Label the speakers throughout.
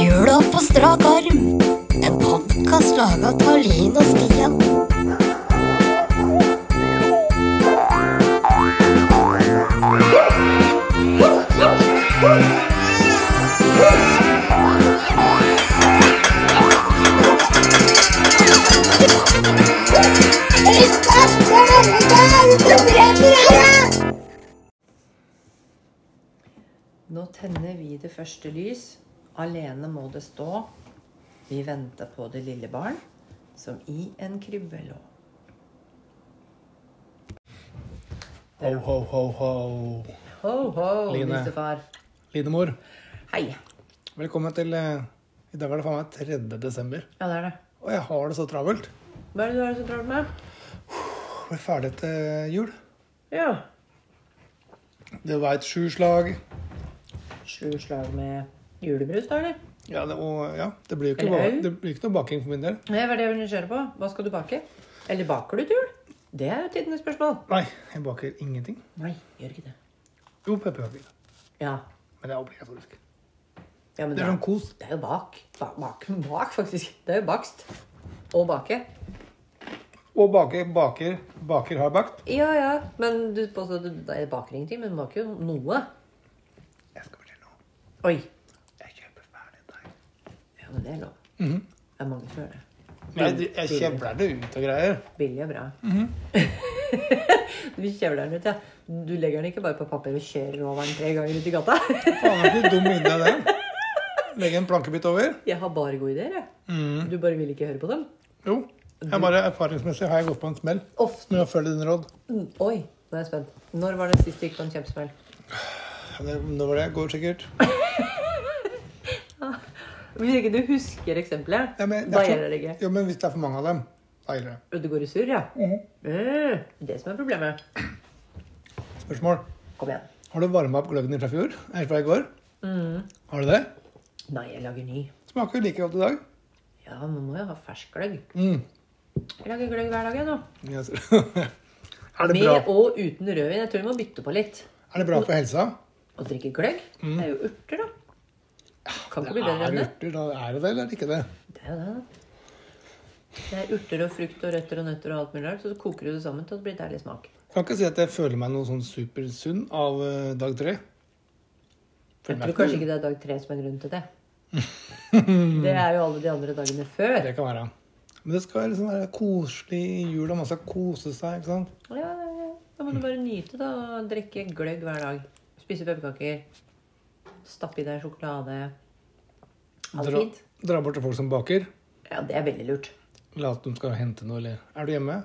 Speaker 1: Jula på strak arm. En podkast laga av Linn og Stian.
Speaker 2: Nå tenner vi det første lys. Alene må det stå. Vi venter på det lille barn, som i en krybbe lå.
Speaker 3: Ho, ho, ho, ho.
Speaker 2: Ho, ho,
Speaker 3: Line.
Speaker 2: nissefar.
Speaker 3: Linemor,
Speaker 2: Hei.
Speaker 3: velkommen til eh, I dag er det faen meg 3. desember.
Speaker 2: Ja, det er det.
Speaker 3: Og jeg har det så travelt.
Speaker 2: Hva er det du har så travelt med?
Speaker 3: Blir ferdig til jul.
Speaker 2: Ja.
Speaker 3: Det var et sju slag.
Speaker 2: Sju slag med julebrus, da, eller?
Speaker 3: Ja, det, og, ja, det blir jo ikke,
Speaker 2: Eller
Speaker 3: ba-
Speaker 2: øl?
Speaker 3: det blir ikke noe baking for min del.
Speaker 2: Det var det jeg var nysgjerrig på. Hva skal du bake? Eller baker du til jul? Det er jo tidenes spørsmål.
Speaker 3: Nei, jeg baker ingenting.
Speaker 2: Nei, gjør ikke det.
Speaker 3: Jo, pepperkaker.
Speaker 2: Ja.
Speaker 3: Men det er obligatorisk.
Speaker 2: ja men
Speaker 3: Det er sånn kos.
Speaker 2: Det er jo bak. Ba bak. Bak, faktisk. Det er jo bakst. Og bake.
Speaker 3: Og baker, baker, baker har bakt.
Speaker 2: Ja, ja. Men du påstår at du nei, baker ingenting, men du baker jo noe.
Speaker 3: Jeg skal fortelle noe.
Speaker 2: Oi.
Speaker 3: Jeg kjøper ferdig deig.
Speaker 2: Ja, men det er lov.
Speaker 3: Mhm.
Speaker 2: Det er mange som gjør det.
Speaker 3: Men Jeg, jeg kjevler det ut og greier.
Speaker 2: Billig og bra.
Speaker 3: Mhm.
Speaker 2: du kjevler den ut, ja. Du legger den ikke bare på papir og kjører over den tre ganger ut i gata.
Speaker 3: Faen, det er ikke dum idé, det. Legge en plankebit over.
Speaker 2: jeg har bare gode ideer, jeg.
Speaker 3: Mhm.
Speaker 2: Du bare vil ikke høre på dem.
Speaker 3: Jo. Jeg bare erfaringsmessig har jeg gått på en smell.
Speaker 2: Ofte.
Speaker 3: Men jeg følger dine råd.
Speaker 2: Mm, Oi, nå er jeg spent. Når var det sist du gikk på en kjempesmell?
Speaker 3: Det, det var det. Går sikkert.
Speaker 2: Hvis ikke du husker eksempelet,
Speaker 3: Ja, men,
Speaker 2: da
Speaker 3: det er så-
Speaker 2: gjelder det ikke.
Speaker 3: Jo, men hvis det er for mange av dem, da gjelder det.
Speaker 2: Og Du går i surr, ja.
Speaker 3: Mhm.
Speaker 2: Mm, det som er problemet.
Speaker 3: Spørsmål.
Speaker 2: Kom igjen.
Speaker 3: Har du varma opp gløggen din fra fjor? Eller fra i går? Har du det?
Speaker 2: Nei, jeg lager ny.
Speaker 3: Smaker jo like godt i dag.
Speaker 2: Ja, nå må jeg ha fersk gløgg.
Speaker 3: Mm.
Speaker 2: Jeg lager gløgg hver dag, jeg nå.
Speaker 3: Ja, så- er, det
Speaker 2: Med
Speaker 3: bra?
Speaker 2: og uten rødvin. Jeg tror vi må bytte på litt.
Speaker 3: er det bra for helsa?
Speaker 2: Å drikke gløgg det er jo urter, da. Kan ikke bli bedre
Speaker 3: Er
Speaker 2: enn det.
Speaker 3: Mm. Ah, det urter, da? Er det det, eller er det ikke det?
Speaker 2: Det er jo det, da. Det er urter og frukt og røtter og nøtter og alt mulig rart. Så koker du det sammen til at det blir deilig smak.
Speaker 3: Kan ikke si at jeg føler meg noe sånn supersunn av eh, dag tre.
Speaker 2: Jeg
Speaker 3: meg
Speaker 2: tror kanskje ikke det er dag tre som er grunnen til det. Det er jo alle de andre dagene før.
Speaker 3: Det kan være. Men det skal liksom være koselig i jul, og man skal kose seg. ikke sant?
Speaker 2: Ja, ja, ja. Da må du bare nyte det og drikke gløgg hver dag. Spise pepperkaker. Stappe i deg sjokolade. Alt
Speaker 3: Dra,
Speaker 2: fint.
Speaker 3: dra bort til folk som baker.
Speaker 2: Ja, det er veldig lurt.
Speaker 3: Late som de skal hente noe, eller Er du hjemme?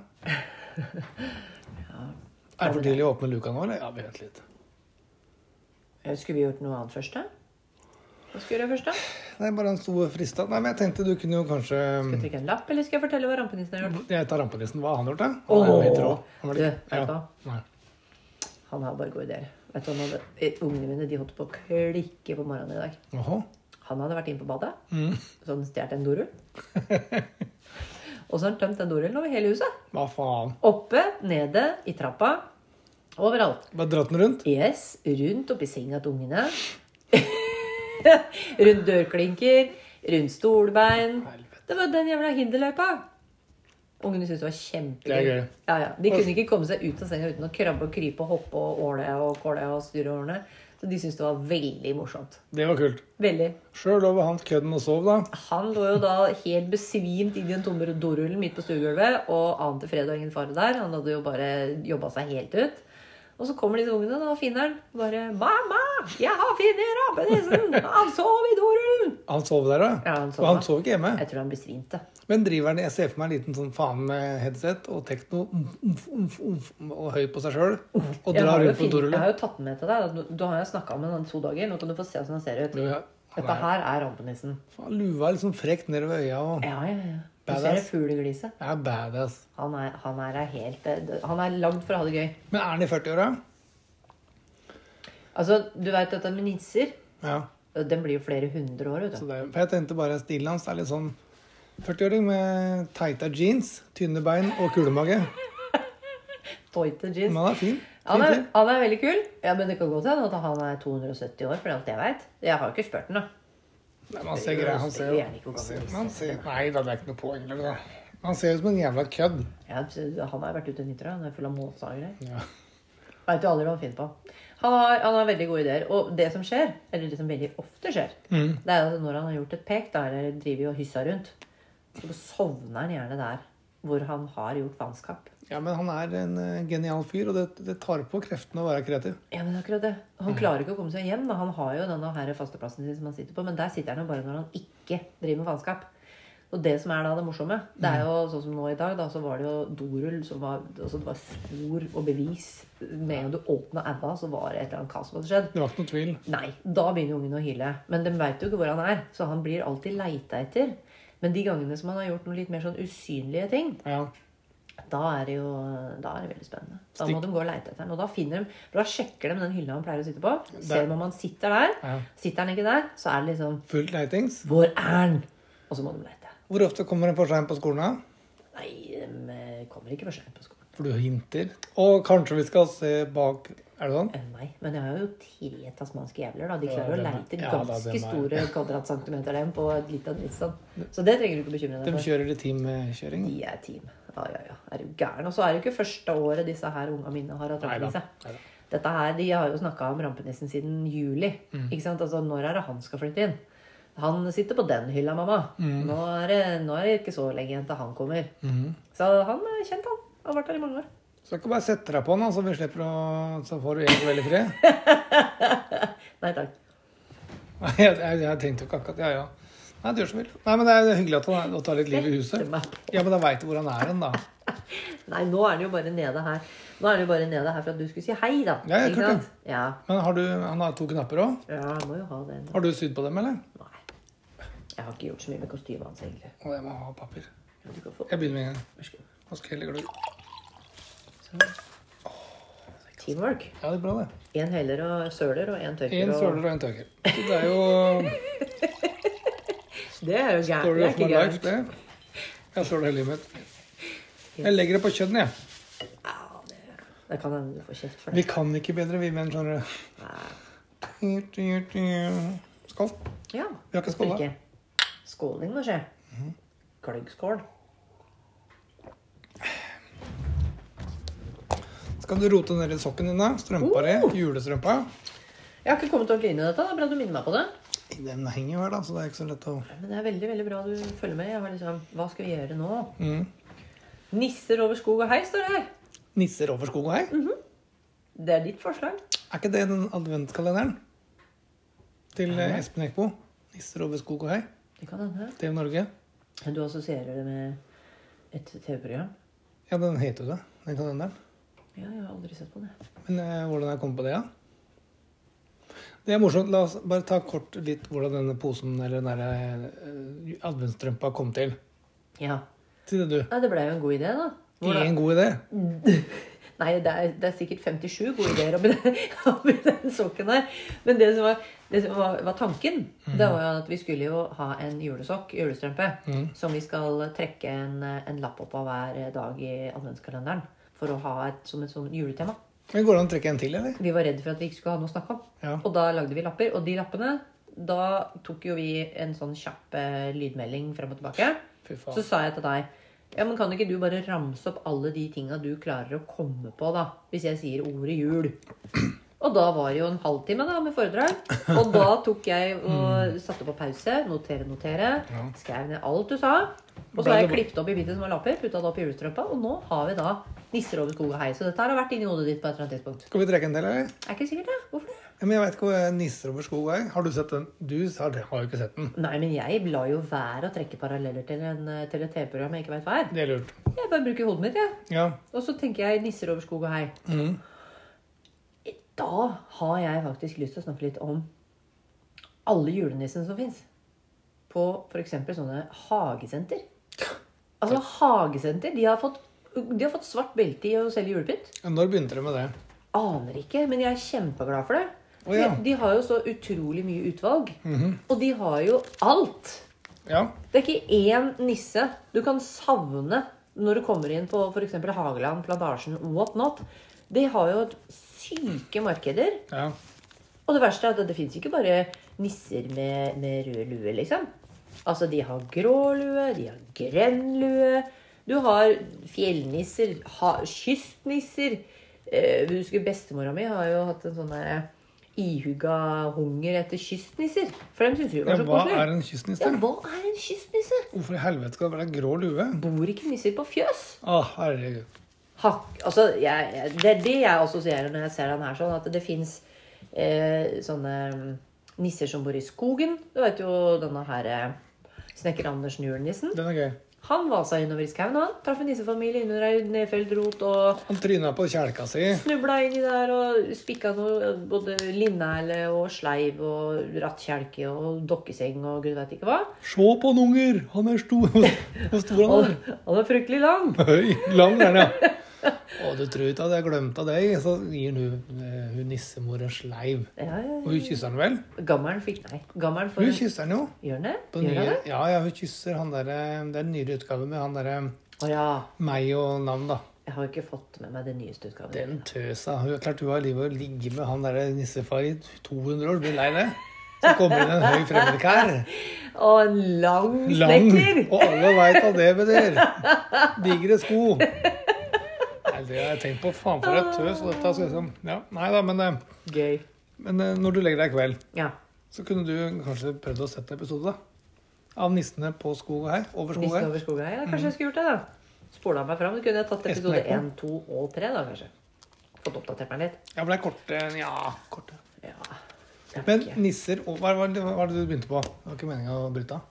Speaker 3: Er det for tidlig å åpne luka nå, eller? Ja, vi venter litt.
Speaker 2: Eh, Skulle vi gjort noe annet først, da? Hva skulle jeg gjøre først, da?
Speaker 3: Nei, bare han sto og frista. Nei, men jeg tenkte du kunne jo kanskje um,
Speaker 2: Skal jeg trykke en lapp, eller skal jeg fortelle hva rampenissen har gjort?
Speaker 3: Jeg tar rampenissen. Hva har han gjort, da? Han er jo helt rå. Han var
Speaker 2: Du,
Speaker 3: litt-
Speaker 2: vet du hva?
Speaker 3: Nei.
Speaker 2: Han har bare gode ideer. Vet du, han hadde, eh, ungene mine de holdt på å klikke på morgenen i dag.
Speaker 3: Jaha.
Speaker 2: Han hadde vært inne på badet,
Speaker 3: Mm.
Speaker 2: så hadde han stjålet en dorull. og så har han tømt den dorullen over hele huset.
Speaker 3: Hva faen?
Speaker 2: Oppe, nede, i trappa. Overalt.
Speaker 3: Bare dratt den rundt?
Speaker 2: Yes, rundt oppi senga til ungene. rundt dørklinker, rundt stolbein.
Speaker 3: Helvete.
Speaker 2: Det var den jævla hinderløypa. Ungene syntes det var kjempegøy.
Speaker 3: Det er gøy.
Speaker 2: Ja, ja. De kunne ikke komme seg ut av senga uten å krabbe og krype og hoppe og åle og kåle og styre årene. Så de syntes det var veldig morsomt.
Speaker 3: Det var kult.
Speaker 2: Veldig.
Speaker 3: Sjøl lå han kødden og sov, da.
Speaker 2: Han lå jo da helt besvimt i den tomme dorullen midt på stuegulvet, og ante fred og ingen fare der. Han hadde jo bare jobba seg helt ut. Og så kommer disse ungene, da, og finner han. Bare 'Mamma, jeg har funnet rampenissen! Han sov i dorullen!'
Speaker 3: Han sov der, da?
Speaker 2: Ja, han sov
Speaker 3: og han
Speaker 2: da.
Speaker 3: sov ikke hjemme?
Speaker 2: Jeg tror han besvimte.
Speaker 3: Men driver han Jeg ser for meg en liten sånn faen med headset og tekno umf, umf, umf, umf, og høy på seg sjøl og
Speaker 2: Jeg
Speaker 3: drar
Speaker 2: har, jo
Speaker 3: rundt på
Speaker 2: fin- jeg har
Speaker 3: dorullen.
Speaker 2: jo tatt den med til deg. da. Du- Du har jo snakka med han to dager. Nå kan du få se hvordan han ser ut.
Speaker 3: Ja, Han
Speaker 2: Dette
Speaker 3: er,
Speaker 2: her er rampenissen.
Speaker 3: faen, lua er liksom frekt nedover øya og
Speaker 2: Ja, ja, ja. Du ser
Speaker 3: Badass.
Speaker 2: det fuglegliset.
Speaker 3: er badass.
Speaker 2: Han er, han er helt eh, Han er lagd for å ha det gøy.
Speaker 3: Men er han i 40-åra?
Speaker 2: Altså, du veit dette med nisser.
Speaker 3: Ja.
Speaker 2: Den blir jo flere hundre år, vet
Speaker 3: Så
Speaker 2: du.
Speaker 3: det, er- for jeg tenkte bare stilen hans er litt sånn 40-åring med tighta jeans, tynne bein og kulemage.
Speaker 2: Toyter jeans.
Speaker 3: Men han er fin.
Speaker 2: Han er,
Speaker 3: Nydelig.
Speaker 2: han er veldig kul. Ja, Men det kan godt hende at han er 270 år, for alt jeg veit. Jeg har jo ikke spurt han, da.
Speaker 3: Nei, man ser grei, han ser jo
Speaker 2: Jeg liker ikke å
Speaker 3: man ser,
Speaker 2: gå
Speaker 3: man ser, Nei da, det er ikke noe poeng eller noe. Han ser ut som en jævla kødd.
Speaker 2: Ja, han har jo vært ute og nyter, han er full av måsa og greier.
Speaker 3: Ja.
Speaker 2: Veit jo aldri hva han finner på. Han har, han har veldig gode ideer. Og det som skjer, eller det som veldig ofte skjer, det er at når han har gjort et pek, da eller driver og hyssa rundt, så sovner han gjerne der hvor han har gjort vanskap.
Speaker 3: ja, men han er en eh, genial fyr, og det, det tar på kreftene å være kreativ.
Speaker 2: Ja, men akkurat det. Han klarer ikke å komme seg hjem. Da. Han har jo denne her fasteplassen sin som han sitter på, men der sitter han jo bare når han ikke driver med faenskap. Og det som er da det morsomme, det er jo sånn som nå i dag, da, så var det jo dorull som var altså Det var spor og bevis. Med en gang du åpna aua, så var det et eller annet kaos som hadde skjedd.
Speaker 3: Det var ikke noe tvil.
Speaker 2: Nei, da begynner ungen å hyle. Men de veit jo ikke hvor han er, så han blir alltid leita etter. Men de gangene som han har gjort noen litt mer sånn usynlige ting,
Speaker 3: Ja.
Speaker 2: da er det jo da er det veldig spennende. Da må de gå og leite etter han. Og da finner de, for da sjekker de den hylla han pleier å sitte på. Ser de om han sitter der.
Speaker 3: Ja.
Speaker 2: Sitter han ikke der, så er det liksom
Speaker 3: Fullt leitings.
Speaker 2: Hvor er han? Og så må de leite.
Speaker 3: Hvor ofte kommer han for seint på skolen? da?
Speaker 2: Nei, de eh, kommer ikke for seint på skolen.
Speaker 3: For du hinter. Og kanskje vi skal se bak Er det sånn?
Speaker 2: Eh, Nei, men jeg har jo tre tasmanske jævler. da. De
Speaker 3: Ja,
Speaker 2: klarer å
Speaker 3: dem er-
Speaker 2: leite
Speaker 3: ja, da,
Speaker 2: ganske
Speaker 3: dem er-
Speaker 2: store kvadratcentimeter dem på et lite drittstand. Så det trenger du ikke bekymre deg
Speaker 3: De
Speaker 2: for.
Speaker 3: kjører litt teamkjøring.
Speaker 2: De er team. Ja, ja, ja. Er du gæren? Og så er det jo ikke første året disse her unga mine har hatt
Speaker 3: Neida,
Speaker 2: rampenissen.
Speaker 3: neida.
Speaker 2: Dette her, De har jo snakka om rampenissen siden juli.
Speaker 3: Mm.
Speaker 2: Ikke sant? Altså, Når er det han skal flytte inn? Han sitter på den hylla, mamma.
Speaker 3: Mm.
Speaker 2: Nå, er det, nå er det ikke så lenge igjen til han kommer. Så han er kjent, han. Har vært her i mange år.
Speaker 3: Så kan du bare sette deg på den, da, så vi slipper å Så får du egentlig veldig fri.
Speaker 2: Nei takk.
Speaker 3: Nei, jeg, jeg, jeg tenkte jo ikke akkurat Ja, ja. Nei, du gjør som du vil. Nei, men det er hyggelig at han å ta litt liv i huset.
Speaker 2: Sette meg
Speaker 3: Ja, men da veit du hvor han er hen, da.
Speaker 2: Nei, nå er han jo bare nede her. Nå er han jo bare nede her for at du skulle si hei, da.
Speaker 3: Ja, ja,
Speaker 2: ikke
Speaker 3: klart det.
Speaker 2: sant? Ja,
Speaker 3: Men har du Han har to knapper òg.
Speaker 2: ja, jeg må jo ha det.
Speaker 3: Har du sydd på dem, eller?
Speaker 2: Nei. Jeg har ikke gjort så mye med kostymet hans, egentlig.
Speaker 3: Å, jeg må ha papir.
Speaker 2: Men Du kan få
Speaker 3: Jeg begynner med en gang.
Speaker 2: Vær så god.
Speaker 3: Nå skal jeg legge det ut.
Speaker 2: Teamwork.
Speaker 3: Ja, det er bra, det.
Speaker 2: Én heller og søler, og én tørker.
Speaker 3: En søler
Speaker 2: Og...
Speaker 3: og en tøker. Så Det er jo
Speaker 2: Det er jo gærent.
Speaker 3: Story
Speaker 2: Det er
Speaker 3: of my
Speaker 2: ikke
Speaker 3: life,
Speaker 2: gærent.
Speaker 3: det. Jeg står det hele livet mitt. Jeg legger det på kjønn, jeg.
Speaker 2: Ja, det... det kan hende du får kjeft for
Speaker 3: Vi
Speaker 2: det.
Speaker 3: kan ikke bedre, vi menn, skjønner du. Skål.
Speaker 2: Ja,
Speaker 3: Vi har ikke Mhm. skåla.
Speaker 2: hvorfor ikke? Skåling må skje. Gløggskål.
Speaker 3: Skal du rote ned i sokken din, da? Strømpa di? Julestrømpa?
Speaker 2: Jeg har ikke kommet ordentlig inn i dette. Det er bra du minner meg på det.
Speaker 3: Den henger jo her, da, så det er ikke så lett å
Speaker 2: Men det er veldig veldig bra du følger med. Jeg har liksom, Hva skal vi gjøre nå?
Speaker 3: mm.
Speaker 2: Nisser over skog og hei, står det her.
Speaker 3: Nisser over skog og hei?
Speaker 2: Det er ditt forslag.
Speaker 3: Er ikke det den adventskalenderen til eh, Espen Eckbo? Nisser over skog og hei.
Speaker 2: Det kan hende.
Speaker 3: TV Norge.
Speaker 2: Men Du assosierer det med et TV-program?
Speaker 3: Ja, den heter jo det, den kalenderen.
Speaker 2: Ja, jeg har aldri sett på det.
Speaker 3: Men eh, hvordan jeg kom på det, ja? Det er morsomt. La oss bare ta kort litt hvordan denne posen eller den derre eh, adventsstrømpa kom til.
Speaker 2: Ja.
Speaker 3: Si det, du.
Speaker 2: Nei, det ble jo en god idé, da. Hvordan-
Speaker 3: Ingen god idé.
Speaker 2: Nei, det er, det er sikkert 57 gode ideer oppi den, oppi den sokken her. Men det som var, det som var, var tanken, det var jo at vi skulle jo ha en julesokk, julestrømpe, som vi skal trekke en, en lapp opp av hver dag i adventskalenderen. For å ha et, som et sånn juletema.
Speaker 3: Men Går det an å trekke en til, eller?
Speaker 2: Vi var redde for at vi ikke skulle ha noe å snakke om.
Speaker 3: Ja.
Speaker 2: Og da lagde vi lapper. Og de lappene, da tok jo vi en sånn kjapp eh, lydmelding frem og tilbake.
Speaker 3: Fy
Speaker 2: Så
Speaker 3: faen.
Speaker 2: sa jeg til deg ja, men Kan ikke du bare ramse opp alle de tinga du klarer å komme på, da? Hvis jeg sier ordet jul. Og da var det jo en halvtime da med foredrag. Og da tok jeg og satte på pause. Notere, notere.
Speaker 3: Mm. Ja.
Speaker 2: Skrev ned alt du sa. Og så
Speaker 3: Ble
Speaker 2: har jeg
Speaker 3: det-
Speaker 2: klippet opp i biter som var lapper, putta det opp i julestrømpa, og nå har vi da nisser over skog og hei. Så dette her har vært inni hodet ditt på et eller annet tidspunkt.
Speaker 3: Skal vi trekke en til, eller?
Speaker 2: Er ikke sikkert, det. Hvorfor det?
Speaker 3: Ja, men jeg veit ikke hvor eh, nisser over skog og hei. Har du sett den? Du har, har jo ikke sett den.
Speaker 2: Nei, men jeg la jo være å trekke paralleller til, en, til et TV-program jeg ikke veit hva er.
Speaker 3: Det er lurt.
Speaker 2: Jeg bare bruker hodet mitt, jeg.
Speaker 3: Ja.
Speaker 2: Og så tenker jeg nisser over skog og hei.
Speaker 3: Mhm.
Speaker 2: Da har jeg faktisk lyst til å snakke litt om alle julenissene som fins. På f.eks. sånne hagesenter. Altså hagesenter. De har fått, de har fått svart belte i å selge julepynt.
Speaker 3: Ja, Når begynte du med det?
Speaker 2: Aner ikke, men jeg er kjempeglad for det.
Speaker 3: Å, ja. Mhm.
Speaker 2: de, de har jo så utrolig mye utvalg. Og de har jo alt.
Speaker 3: Ja.
Speaker 2: Det er ikke én nisse du kan savne når du kommer inn på f.eks. Hageland, Plantasjen, what not. De har jo et syke markeder.
Speaker 3: Ja.
Speaker 2: Og det verste er at det fins ikke bare nisser med, med rød lue, liksom. Altså, de har grå lue, de har grønn lue. Du har fjellnisser, ha, kystnisser. Eh, du husker bestemora mi har jo hatt en sånn der ihugga hunger etter kystnisser. For dem syns hun
Speaker 3: ja
Speaker 2: var så
Speaker 3: hva
Speaker 2: koselig.
Speaker 3: er en
Speaker 2: Ja,
Speaker 3: kystnisse?
Speaker 2: hva er en kystnisse?
Speaker 3: Hvorfor i helvete skal det være grå lue?
Speaker 2: Bor ikke nisser på fjøs?
Speaker 3: Å, herregud.
Speaker 2: Hakk, altså, jeg, jeg- det er det jeg assosierer når jeg ser den her, sånn at det fins eh, sånne mm, nisser som bor i skogen. Du vet jo denne her eh, snekker Andersen Julenissen.
Speaker 3: Den er gøy.
Speaker 2: Han vasa innover i skauen, han. Traff en nissefamilie innunder ei nedfelt rot og
Speaker 3: Han tryna på kjelka si.
Speaker 2: snubla inni der og spikka noe, eh, både linnæle og sleiv og rattkjelke og dokkeseng og gud veit ikke hva.
Speaker 3: Se på han, unger! Han er stor. Hvor stor han
Speaker 2: Og
Speaker 3: er.
Speaker 2: han er fryktelig lang.
Speaker 3: Høy. Lang er han, ja. Å, du tror ikke at jeg glemte av deg, så gir hun, eh, hun nissemor en sleiv.
Speaker 2: Ja, ja.
Speaker 3: Og hun kysser han vel?
Speaker 2: Gammelen fikk Nei, gammelen for
Speaker 3: Hun kysser han jo.
Speaker 2: Gjør han det?
Speaker 3: På
Speaker 2: Gjør
Speaker 3: nye,
Speaker 2: han det?
Speaker 3: ja, ja, hun kysser han derre Det er den nyere utgaven med han derre
Speaker 2: Å ja.
Speaker 3: meg og navn, da.
Speaker 2: Jeg har ikke fått med meg den nyeste utgaven.
Speaker 3: Den tøsa. Hun er klart hun har livet å ligge med han derre nissefar i 200 år. Blir lei det. Så kommer det en høy fremmedkar.
Speaker 2: Og en lang
Speaker 3: Lang.
Speaker 2: snekker!
Speaker 3: Og alle veit hva det betyr. Digre sko. Nei, det har jeg tenkt på. Faen for et tøs. Og dette skal liksom ja, Nei da, men, eh,
Speaker 2: Gøy.
Speaker 3: men eh, når du legger deg i kveld,
Speaker 2: Ja.
Speaker 3: så kunne du kanskje prøvd å sette en episode, da. Av nissene på skog og her. Over skog og
Speaker 2: Nissen
Speaker 3: her.
Speaker 2: over skogen. Ja,
Speaker 3: Mhm.
Speaker 2: kanskje jeg skulle gjort det, da. Spola meg fram. Så kunne jeg tatt
Speaker 3: Espen
Speaker 2: episode
Speaker 3: Eckbo.
Speaker 2: 1, 2 og 3, da, kanskje. Fått oppdatert meg litt.
Speaker 3: Ja, for det er korte Ja, korte.
Speaker 2: Ja. Jeg vet
Speaker 3: Men
Speaker 2: ikke.
Speaker 3: nisser og- Hva var det, hva var det du begynte på? Det var ikke meninga å bryte av.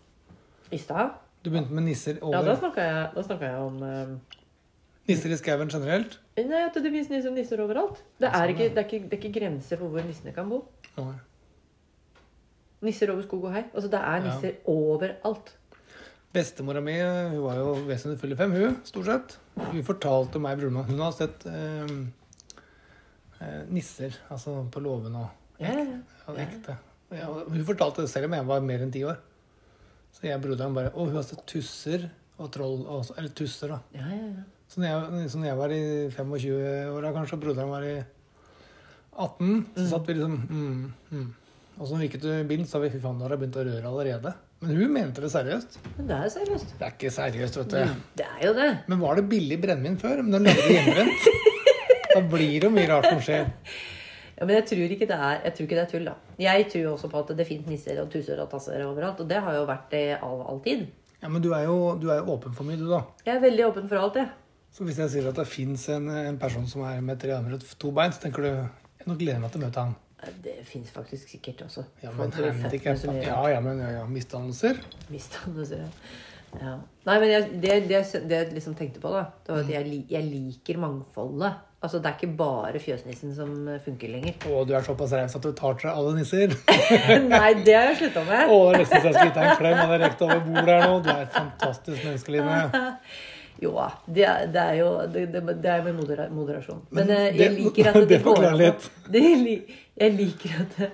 Speaker 2: I stad
Speaker 3: Du begynte med nisser
Speaker 2: Ja, da
Speaker 3: over
Speaker 2: snakka jeg, da snakket jeg om eh,
Speaker 3: Nisser i skauen generelt?
Speaker 2: Nei, at det finnes nisser, nisser overalt. Det er, ikke, det, er ikke, det er ikke grenser for hvor nissene kan bo.
Speaker 3: Nei.
Speaker 2: Nisser over skog og hei. Altså, det er
Speaker 3: Ja.
Speaker 2: nisser overalt.
Speaker 3: Bestemora mi hun var jo vesentlig full i fem, hun, stort sett. Hun fortalte meg, broren min, hun har sett eh, eh, nisser altså på låven og
Speaker 2: Ja, ja, ja.
Speaker 3: ja, det er ekte. Ja, og hun fortalte det selv om jeg var mer enn ti år. Så jeg og broderen bare Å, hun har sett tusser og troll og så- Eller tusser, da.
Speaker 2: ja, ja, ja.
Speaker 3: Så når jeg, så når jeg var i 25-åra kanskje, og broderen var i 18, så satt vi liksom mm, mm. Og så når vi gikk ut i bilen, så sa vi fy faen, nå har jeg begynt å røre allerede. Men hun mente det seriøst.
Speaker 2: Men det er seriøst.
Speaker 3: Det er ikke seriøst, vet du.
Speaker 2: Det er jo det.
Speaker 3: Men var det billig brennevin før? Men den lagde hjemmebrent. da blir det jo mye rart som skjer.
Speaker 2: Ja, men jeg tror, ikke det er, jeg tror ikke det er tull, da. Jeg tror jo også på at det finnes nisser og tusser og tasser overalt. Og det har jo vært det av all tid.
Speaker 3: Ja, Men du er jo, du er jo åpen for mye, du, da.
Speaker 2: Jeg er veldig åpen for alt, jeg.
Speaker 3: Så hvis jeg sier at det fins en, en person som er med tre armer og to bein, så tenker du jeg nå gleder jeg meg til å møte han.
Speaker 2: Det fins faktisk sikkert også.
Speaker 3: Ja, men
Speaker 2: Folk blir født
Speaker 3: handicap-
Speaker 2: med så mye
Speaker 3: Ja, ja, men ja, ja. Misdannelser.
Speaker 2: misdannelser, ja. ja. Nei, men jeg, det, det, det jeg liksom tenkte på, da, det
Speaker 3: Mm.
Speaker 2: var at jeg, li- jeg liker mangfoldet. Altså, det er ikke bare fjøsnissen som funker lenger.
Speaker 3: Å, du er såpass raus at du tar til deg alle nisser.
Speaker 2: Nei, det har jeg slutta med.
Speaker 3: Å, det reiste seg litt en klem, og det rekte over bordet her nå. Du er et fantastisk menneske, Line.
Speaker 2: Jo da. Det, er- det er jo det, det, det er med modera moderasjon. Men eh, jeg
Speaker 3: det-
Speaker 2: liker at det,
Speaker 3: det
Speaker 2: går
Speaker 3: forklarer
Speaker 2: an å,
Speaker 3: litt.
Speaker 2: det, li- jeg, liker at det,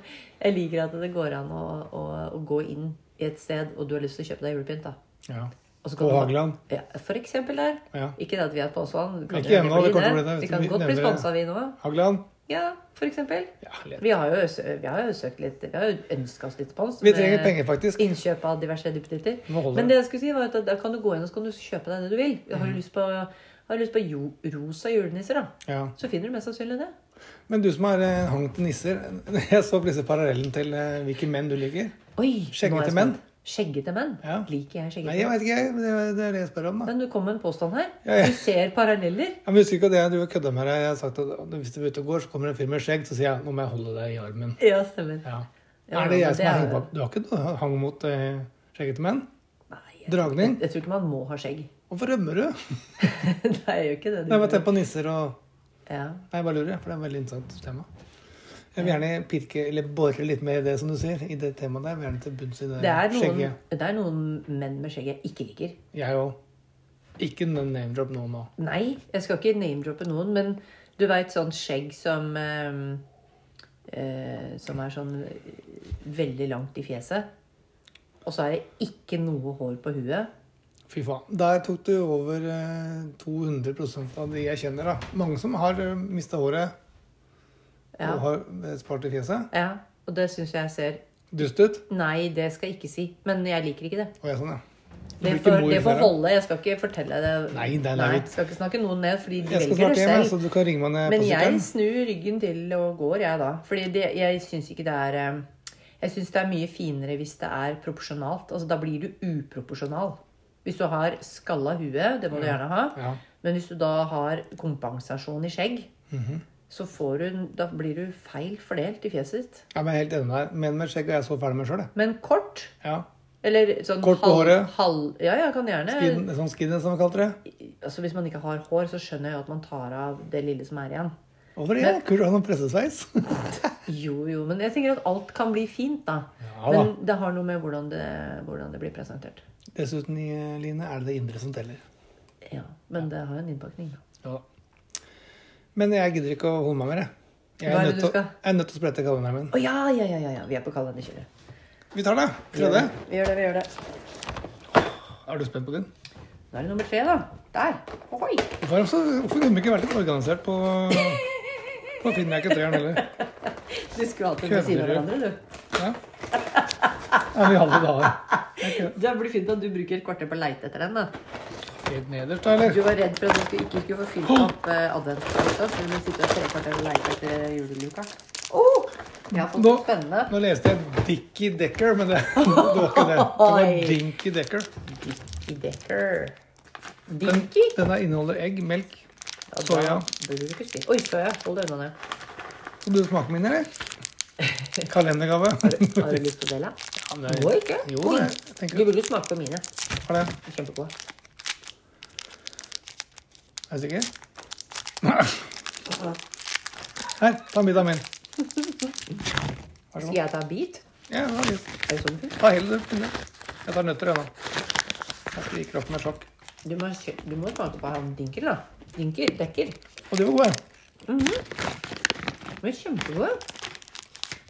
Speaker 2: jeg liker at det går an å, å, å gå inn i et sted, og du har lyst til å kjøpe deg julepynt. da.
Speaker 3: Ja.
Speaker 2: Og så kan
Speaker 3: På
Speaker 2: du-
Speaker 3: Hageland.
Speaker 2: Ja, for eksempel der.
Speaker 3: Ja.
Speaker 2: Ikke det at vi er på Åsvann.
Speaker 3: Ikke ennå, det kommer til å bli det, hvis
Speaker 2: Vi kan
Speaker 3: vi
Speaker 2: godt bli
Speaker 3: nevner det.
Speaker 2: sponsa, vi nå.
Speaker 3: Hageland.
Speaker 2: Ja, for eksempel.
Speaker 3: Ja, lett.
Speaker 2: Vi har jo, sø- vi har jo søkt litt Vi har jo ønska oss litt spons.
Speaker 3: Vi
Speaker 2: med
Speaker 3: trenger penger, faktisk.
Speaker 2: Innkjøp av diverse duppeditter.
Speaker 3: Nå holder
Speaker 2: Men
Speaker 3: det.
Speaker 2: det Mm. jeg skulle si var at da kan du gå inn og så kan du kjøpe deg det du vil. Har du lyst på, har du lyst på jo, rosa julenisser, da?
Speaker 3: Ja.
Speaker 2: Så finner du mest sannsynlig det.
Speaker 3: Men du som har eh, hang til nisser, jeg så plutselig parallellen til eh, hvilke menn du liker.
Speaker 2: Oi!
Speaker 3: Skjeggete
Speaker 2: nå er jeg spent.
Speaker 3: menn.
Speaker 2: Skjeggete menn?
Speaker 3: Ja.
Speaker 2: Liker jeg skjeggete
Speaker 3: Nei, jeg
Speaker 2: menn?
Speaker 3: vet ikke, jeg. Det er- det er det jeg spør om, da.
Speaker 2: Men du kom med en påstand her.
Speaker 3: Ja, ja.
Speaker 2: Du ser paralleller.
Speaker 3: Jeg husker ikke at jeg driver og kødder med deg. Jeg har sagt at hvis du er ute og går, så kommer det en fyr med skjegg, så sier jeg nå må jeg holde deg i armen.
Speaker 2: Ja, stemmer.
Speaker 3: Ja.
Speaker 2: Ja,
Speaker 3: er det
Speaker 2: men
Speaker 3: jeg som
Speaker 2: det
Speaker 3: er
Speaker 2: er-
Speaker 3: hang bak? Du har ikke noe hang mot eh, skjeggete menn?
Speaker 2: Nei, jeg,
Speaker 3: Dragning?
Speaker 2: jeg tror ikke man må ha skjegg.
Speaker 3: Hvorfor rømmer du?
Speaker 2: Nei, jeg gjør ikke det.
Speaker 3: Nei, men tenk på nisser og
Speaker 2: Ja.
Speaker 3: Nei, jeg bare lurer, jeg, for det er et veldig interessant tema. Jeg vil gjerne pirke, eller bore litt mer i det som du sier, i det temaet der. Jeg vil gjerne til bunns i det,
Speaker 2: Det er, noen,
Speaker 3: skjegget.
Speaker 2: det er noen menn med skjegg jeg ikke liker.
Speaker 3: Jeg òg. Ikke noe name drop nå nå.
Speaker 2: Nei, jeg skal ikke name-droppe noen, men du veit sånn skjegg som ehm, eh, Som er sånn eh, veldig langt i fjeset. Og så er det ikke noe hår på huet.
Speaker 3: Fy faen. Der tok du over eh, 200 av de jeg kjenner. da. Mange som har mista håret
Speaker 2: Ja.
Speaker 3: og har eh, spart i fjeset.
Speaker 2: ja. Og det syns jeg ser
Speaker 3: Dust ut.
Speaker 2: Nei, det skal jeg ikke si. Men jeg liker ikke det.
Speaker 3: Og jeg sånn, ja. Du
Speaker 2: Det
Speaker 3: blir ikke
Speaker 2: får,
Speaker 3: mor
Speaker 2: det får
Speaker 3: før, da.
Speaker 2: holde. Jeg skal ikke fortelle det.
Speaker 3: Nei, det er
Speaker 2: Nei,
Speaker 3: leit.
Speaker 2: skal ikke snakke noen ned, fordi de
Speaker 3: Jeg skal
Speaker 2: velger
Speaker 3: snart
Speaker 2: det
Speaker 3: hjem, jeg,
Speaker 2: selv.
Speaker 3: så du kan ringe meg ned
Speaker 2: Men
Speaker 3: på
Speaker 2: jeg
Speaker 3: sykkelen.
Speaker 2: snur ryggen til og går, jeg, da. Fordi det, jeg syns ikke det er eh, Jeg syns det er mye finere hvis det er proporsjonalt. Altså, da blir du uproporsjonal. Hvis du har skalla hue, det må du gjerne ha,
Speaker 3: Ja.
Speaker 2: men hvis du da har kompensasjon i skjegg,
Speaker 3: Mhm.
Speaker 2: så får du, da blir du feil fordelt i fjeset ditt.
Speaker 3: Ja, men jeg er helt enig med deg. Men med skjegg er jeg så ferdig med sjøl, jeg.
Speaker 2: Men kort
Speaker 3: Ja.
Speaker 2: eller sånn
Speaker 3: Kort på
Speaker 2: halv-
Speaker 3: håret?
Speaker 2: halv- ja, jeg kan gjerne
Speaker 3: Skin, sånn skinhead, som vi kalte det.
Speaker 2: altså Hvis man ikke har hår, så skjønner jeg jo at man tar av det lille som er igjen.
Speaker 3: Hvorfor det? Kult å ha sånn pressesveis.
Speaker 2: Jo, jo, men jeg tenker at alt kan bli fint, da.
Speaker 3: Ja,
Speaker 2: men det har noe med hvordan det, hvordan det blir presentert.
Speaker 3: Dessuten, i- Line, er det det indre som teller.
Speaker 2: Ja, Men det har jo en innpakning. da.
Speaker 3: Ja. Men jeg gidder ikke å holde meg mer, jeg. Jeg
Speaker 2: Hva
Speaker 3: er,
Speaker 2: er det
Speaker 3: nødt
Speaker 2: du
Speaker 3: til, å-
Speaker 2: skal?
Speaker 3: jeg er nødt til å sprette kalenderen min.
Speaker 2: Å ja, ja, ja, ja, ja, vi er på kalenderkjøret.
Speaker 3: Vi tar det. Tredje.
Speaker 2: Vi gjør det, vi gjør det.
Speaker 3: Er du spent på din?
Speaker 2: Da er det nummer tre, da. Der. Oi.
Speaker 3: Hvorfor, er det så- hvorfor kunne vi ikke vært litt organisert på På finner jeg ikke treeren heller.
Speaker 2: Du skulle alltid ved siden av
Speaker 3: Kødder du?
Speaker 2: hverandre, du.
Speaker 3: Ja. ja vi hadde det her.
Speaker 2: Det blir fint at du bruker et kvarter på å leite etter den. da.
Speaker 3: Helt nederst, da, eller?
Speaker 2: Du var redd for at du skulle, ikke skulle få fylt opp eh, adventsluka, så du ville sitte og tre kvarter og leite etter juleluka. Oh, jeg har fått
Speaker 3: Nå-
Speaker 2: noe spennende.
Speaker 3: Nå leste jeg Dickie Decker, men det, det var ikke det. Det var
Speaker 2: Oi.
Speaker 3: Dinky Decker.
Speaker 2: Dinky Decker.
Speaker 3: Den,
Speaker 2: Dinky?
Speaker 3: denne inneholder egg, melk.
Speaker 2: Ja, da
Speaker 3: soya.
Speaker 2: burde du ikke spise. Oi, soya. Hold det unna det.
Speaker 3: Skal du smake min, eller? Kalendergave.
Speaker 2: Har du lyst til å dele?
Speaker 3: Ja, men det er-
Speaker 2: Må ikke.
Speaker 3: Jo, det- jeg tenker
Speaker 2: Du vil jo smake på mine.
Speaker 3: Har det.
Speaker 2: De er Kjempegode.
Speaker 3: Er du sikker? Her, ta en bit av min. Vær så
Speaker 2: Skal
Speaker 3: god.
Speaker 2: jeg ta en bit?
Speaker 3: Ja, det var litt.
Speaker 2: Er det sånn du
Speaker 3: Ta hele du. Line. Jeg tar nøtter, jeg, nå. Jeg skal gi kroppen et sjokk.
Speaker 2: du må, kjø- du må smake på han Dinkel, da. Dinkel, Dekker.
Speaker 3: Og de var gode.
Speaker 2: De er kjempegode.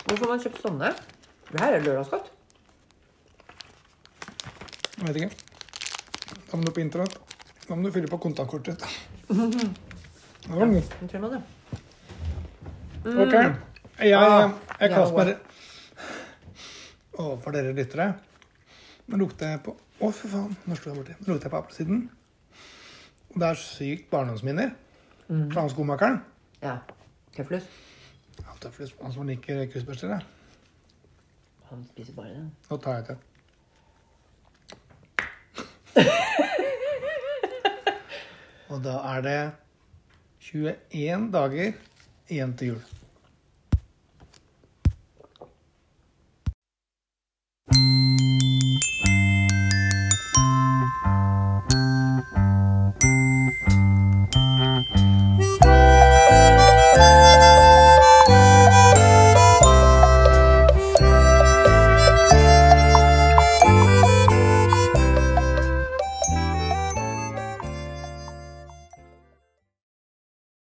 Speaker 2: Hvor får man kjøpt sånne? Det her er lørdagsgodt.
Speaker 3: Jeg vet ikke. Da må du på internett. Da må du fylle på kontantkortet ditt. Det var den.
Speaker 2: Den tror man, ja.
Speaker 3: Ok. Mm. Jeg, jeg,
Speaker 2: det
Speaker 3: jeg
Speaker 2: var
Speaker 3: kaster
Speaker 2: bra.
Speaker 3: bare Overfor dere lyttere Nå lukter jeg på Å, fy faen. Nå slo jeg borti. Nå lukter jeg på appelsiden. Og det er sykt barndomsminner fra han skomakeren.
Speaker 2: Ja. Tøflus.
Speaker 3: Han tøffel, han som liker kryssbørster. jeg.
Speaker 2: Han spiser bare den.
Speaker 3: Nå tar jeg til. Og da er det 21 dager igjen til jul.